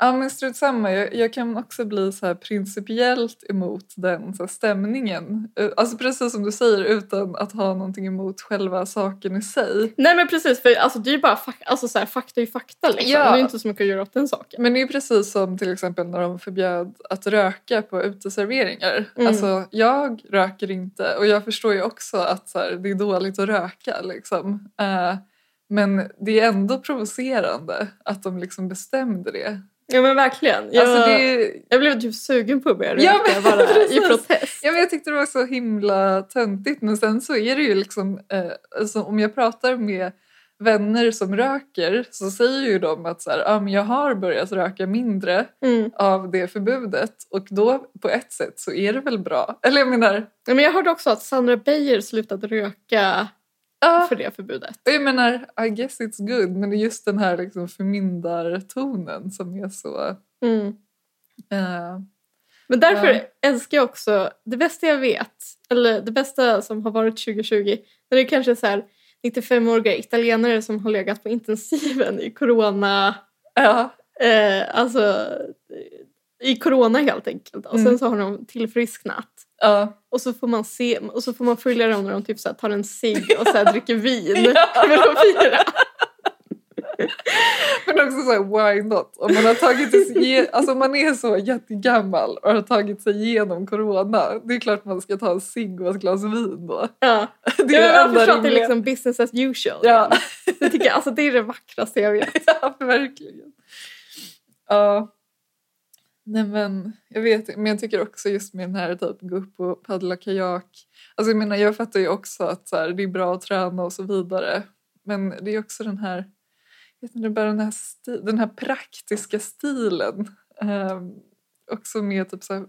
S2: ja men strunt samma, jag, jag kan också bli så här principiellt emot den så här, stämningen. Eh, Alltså precis som du säger utan att ha någonting emot själva saken i sig.
S3: Nej men precis för alltså, det är ju bara fak- alltså, så här, fakta är ju fakta liksom.
S2: Ja.
S3: Det är ju inte så mycket att göra åt den saken.
S2: Men det är ju precis som till exempel när de förbjöd att röka på uteserveringar.
S3: Mm.
S2: Alltså jag röker inte och jag förstår ju också att så här, det är dåligt att röka liksom. Eh, men det är ändå provocerande att de liksom bestämde det.
S3: Ja men verkligen. Jag,
S2: Alltså det,
S3: jag blev typ sugen på att börja
S2: Ja,
S3: röka
S2: men
S3: bara i
S2: precis.
S3: protest.
S2: ja, men jag tyckte det var så himla töntigt men sen så är det ju liksom, eh, alltså, om jag pratar med vänner som röker så säger ju de att så här, ah, men jag har börjat röka mindre
S3: Mm.
S2: av det förbudet och då på ett sätt så är det väl bra. Eller jag menar,
S3: Ja, men jag hörde också att Sandra Beijer slutade röka
S2: ja,
S3: för det förbudet.
S2: jag menar I guess it's good men det är just den här liksom förmyndartonen som är så... eh,
S3: Men därför
S2: Mm. Ja.
S3: älskar jag också det bästa jag vet, eller det bästa som har varit 2020, när det kanske är så här 95-åriga italienare som har legat på intensiven i corona,
S2: ja,
S3: eh, alltså eh, i corona helt enkelt. Och sen
S2: Mm.
S3: så har de tillfrisknat.
S2: ja.
S3: Och så får man se och så får man följa dem när de typ så här tar en cigg och så här dricker vin.
S2: Ja.
S3: För att fira.
S2: Men också såhär, why not? Om man, har tagit sig, ge- alltså, om man är så jättegammal och har tagit sig igenom corona, det är klart man ska ta en cigg och ett glas vin då.
S3: Ja.
S2: Det är det
S3: Ja, men man
S2: enda
S3: förstår att det är
S2: rimliga.
S3: liksom business as usual.
S2: Ja.
S3: Det, tycker jag, alltså, det är det vackraste jag vet.
S2: ja, verkligen. Ja. Nej men, jag vet men jag tycker också just med den här typ gå upp och paddla kajak. Alltså jag menar, jag fattar ju också att så här, det är bra att träna och så vidare. Men det är också den här, jag vet inte, bara den här, sti- den här praktiska stilen. Ehm, också med typ så här,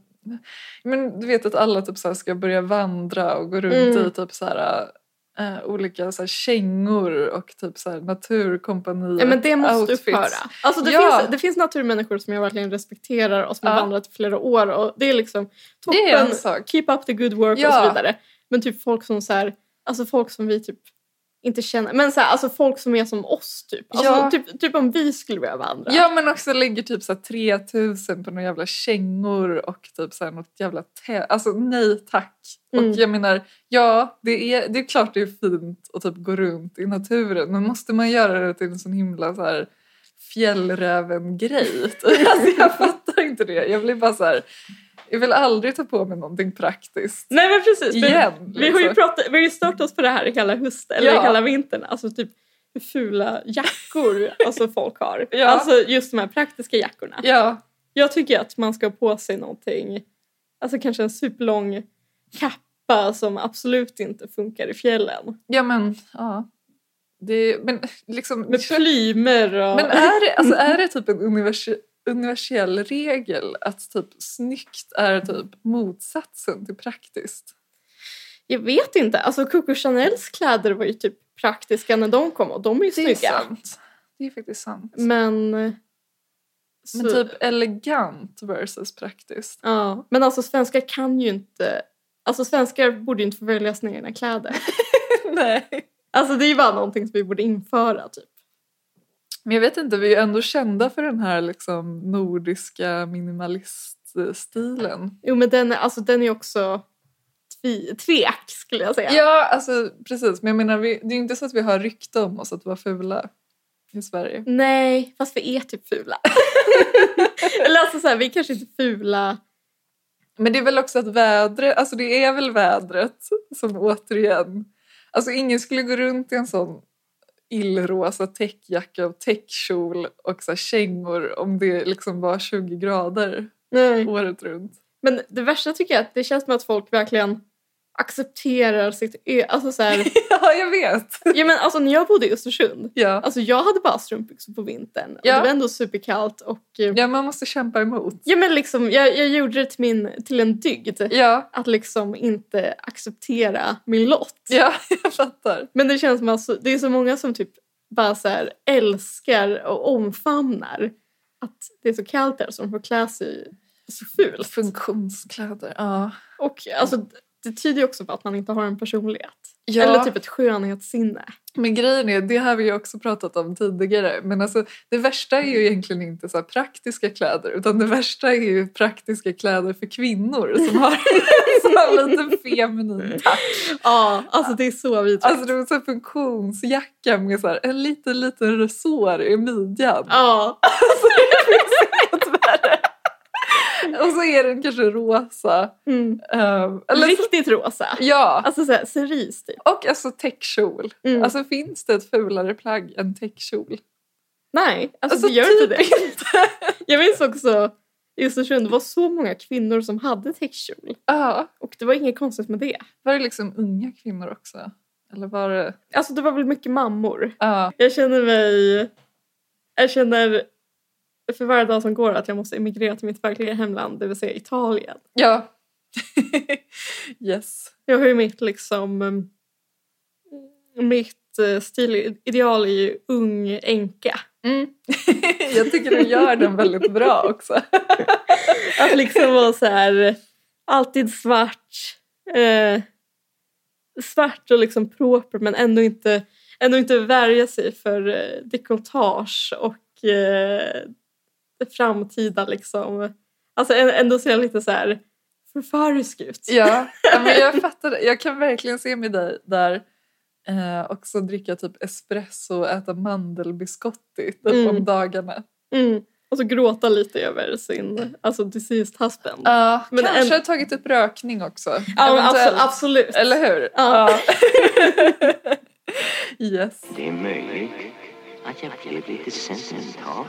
S2: men du vet att alla typ så här ska börja vandra och gå runt
S3: Mm.
S2: i typ så här eh, olika så här kängor och typ så här naturkompanier.
S3: Ja, men det måste
S2: outfits.
S3: upphöra. Alltså, det,
S2: Ja.
S3: finns, det finns naturmänniskor som jag verkligen respekterar och som har
S2: Ja.
S3: vandrat i flera år. Och det är liksom toppen,
S2: Det är en sak.
S3: keep up the good work och
S2: Ja.
S3: så vidare. Men typ folk som så här, alltså folk som vi typ inte känner, men så här, alltså folk som är som oss typ. Alltså,
S2: Ja.
S3: typ, typ om vi skulle börja vandra.
S2: Ja men också lägger typ så här 3000 på några jävla kängor och typ så här något jävla tä- Alltså nej tack.
S3: Mm.
S2: Och jag menar, ja det är, det är klart det är fint att typ gå runt i naturen men måste man göra det till en sån himla så här fjällräven-grej? typ? alltså jag fattar inte det. Jag blir bara så här, jag vill aldrig ta på mig någonting praktiskt.
S3: Nej men precis. Vi,
S2: Igen,
S3: vi har ju
S2: liksom.
S3: pratat, vi har ju stört oss på det här hela hösten, eller
S2: Ja.
S3: hela vintern. Alltså typ hur fula jackor alltså folk har.
S2: Ja.
S3: Alltså just de här praktiska jackorna.
S2: Ja,
S3: Jag tycker att man ska ha på sig någonting, alltså kanske en superlång kappa pappa som absolut inte funkar i fjällen.
S2: Ja men, ja. Det, men liksom...
S3: Med plymer och...
S2: Men är det, alltså, är det typ en univers, universell regel att typ snyggt är typ motsatsen till praktiskt?
S3: Jag vet inte. Alltså Coco Chanels kläder var ju typ praktiska när de kom och de är ju
S2: Det är
S3: snygga.
S2: sant. Det är faktiskt sant.
S3: Men...
S2: Men
S3: så-
S2: typ elegant versus praktiskt.
S3: Ja, men alltså svenskar kan ju inte... Alltså svenskar borde ju inte få välja sina egna kläder.
S2: Nej.
S3: Alltså det är ju bara någonting som vi borde införa typ.
S2: Men jag vet inte, vi är ju ändå kända för den här liksom nordiska minimaliststilen.
S3: Jo men den är, alltså, den är också tvi, tvek skulle jag säga.
S2: Ja. alltså precis. Men jag menar, vi, det är ju inte så att vi har rykte om oss att vara fula i Sverige.
S3: Nej, fast vi är typ fula. Eller alltså så här, vi är kanske inte fula.
S2: Men det är väl också att vädret, alltså det är väl vädret som återigen... Alltså ingen skulle gå runt i en sån illrosa täckjacka och täckkjol och så här kängor om det liksom var 20 grader
S3: Nej.
S2: året runt.
S3: Men det värsta tycker jag är att det känns som att folk verkligen accepterar sitt ö... Alltså så här,
S2: Ja, jag vet!
S3: ja men alltså när jag bodde i Östersund.
S2: Ja.
S3: Alltså jag hade bara strumpbyxor på vintern. Och
S2: Ja.
S3: det var ändå superkallt och... eh,
S2: ja, man måste kämpa emot.
S3: Ja, men liksom, jag, jag gjorde det till, min, till en dygd
S2: Ja,
S3: att liksom inte acceptera min lott.
S2: ja jag fattar.
S3: Men det känns som att så, det är så många som typ bara så här älskar och omfamnar att det är så kallt där så de får klä sig så fult.
S2: Funktionskläder, ja.
S3: Och alltså, det tyder ju också på att man inte har en personlighet.
S2: ja.
S3: Eller typ ett skönhetssinne.
S2: Men grejen är, det har vi ju också pratat om tidigare, men alltså, det värsta är ju egentligen inte så här praktiska kläder utan det värsta är ju praktiska kläder för kvinnor som har, som har lite feminin touch.
S3: Ja, alltså det är så vidrigt.
S2: Alltså det var så här funktionsjacka med så här, en liten, liten resår i midjan.
S3: ja.
S2: Och så är den kanske rosa.
S3: Mm.
S2: ehm, eller så,
S3: Riktigt rosa.
S2: ja,
S3: Alltså så här, cerise typ.
S2: och alltså täckkjol.
S3: Mm.
S2: Alltså finns det ett fulare plagg än täckkjol?
S3: Nej, alltså,
S2: Alltså,
S3: det gör inte
S2: typ
S3: det. Jag minns också i Östersund, det var så många kvinnor som hade täckkjol.
S2: Ja.
S3: Och det var inget konstigt med det.
S2: Var det liksom unga kvinnor också? Eller var det...
S3: Alltså det var väl mycket mammor.
S2: Ja.
S3: Jag känner mig... Jag känner för varje dag som går att jag måste emigrera till mitt verkliga hemland, det vill säga Italien.
S2: Ja. yes.
S3: Jag har ju mitt liksom... mm, Mitt eh, stilideal är ju ung änka.
S2: Mm. Jag tycker du gör den väldigt bra också.
S3: Att liksom vara så här alltid svart. Eh, svart och liksom proper men ändå inte, ändå inte värja sig för eh, dekolletage och eh, det framtida liksom. Alltså ä- ändå ser jag lite så här förförisk ut.
S2: Ja, ja, men jag fattar det. Jag kan verkligen se med dig där eh, också dricka typ espresso och äta mandelbiscotti typ
S3: Mm.
S2: om dagarna.
S3: Mm. Och så gråta lite över sin alltså deceased husband.
S2: Ja,
S3: Men
S2: kanske
S3: en-
S2: har tagit upp rökning också.
S3: Ja, men
S2: Eventuellt.
S3: abso- absolut.
S2: Eller hur?
S3: Ja.
S2: Ja. yes.
S1: Det är möjligt att jag blev lite sentimental.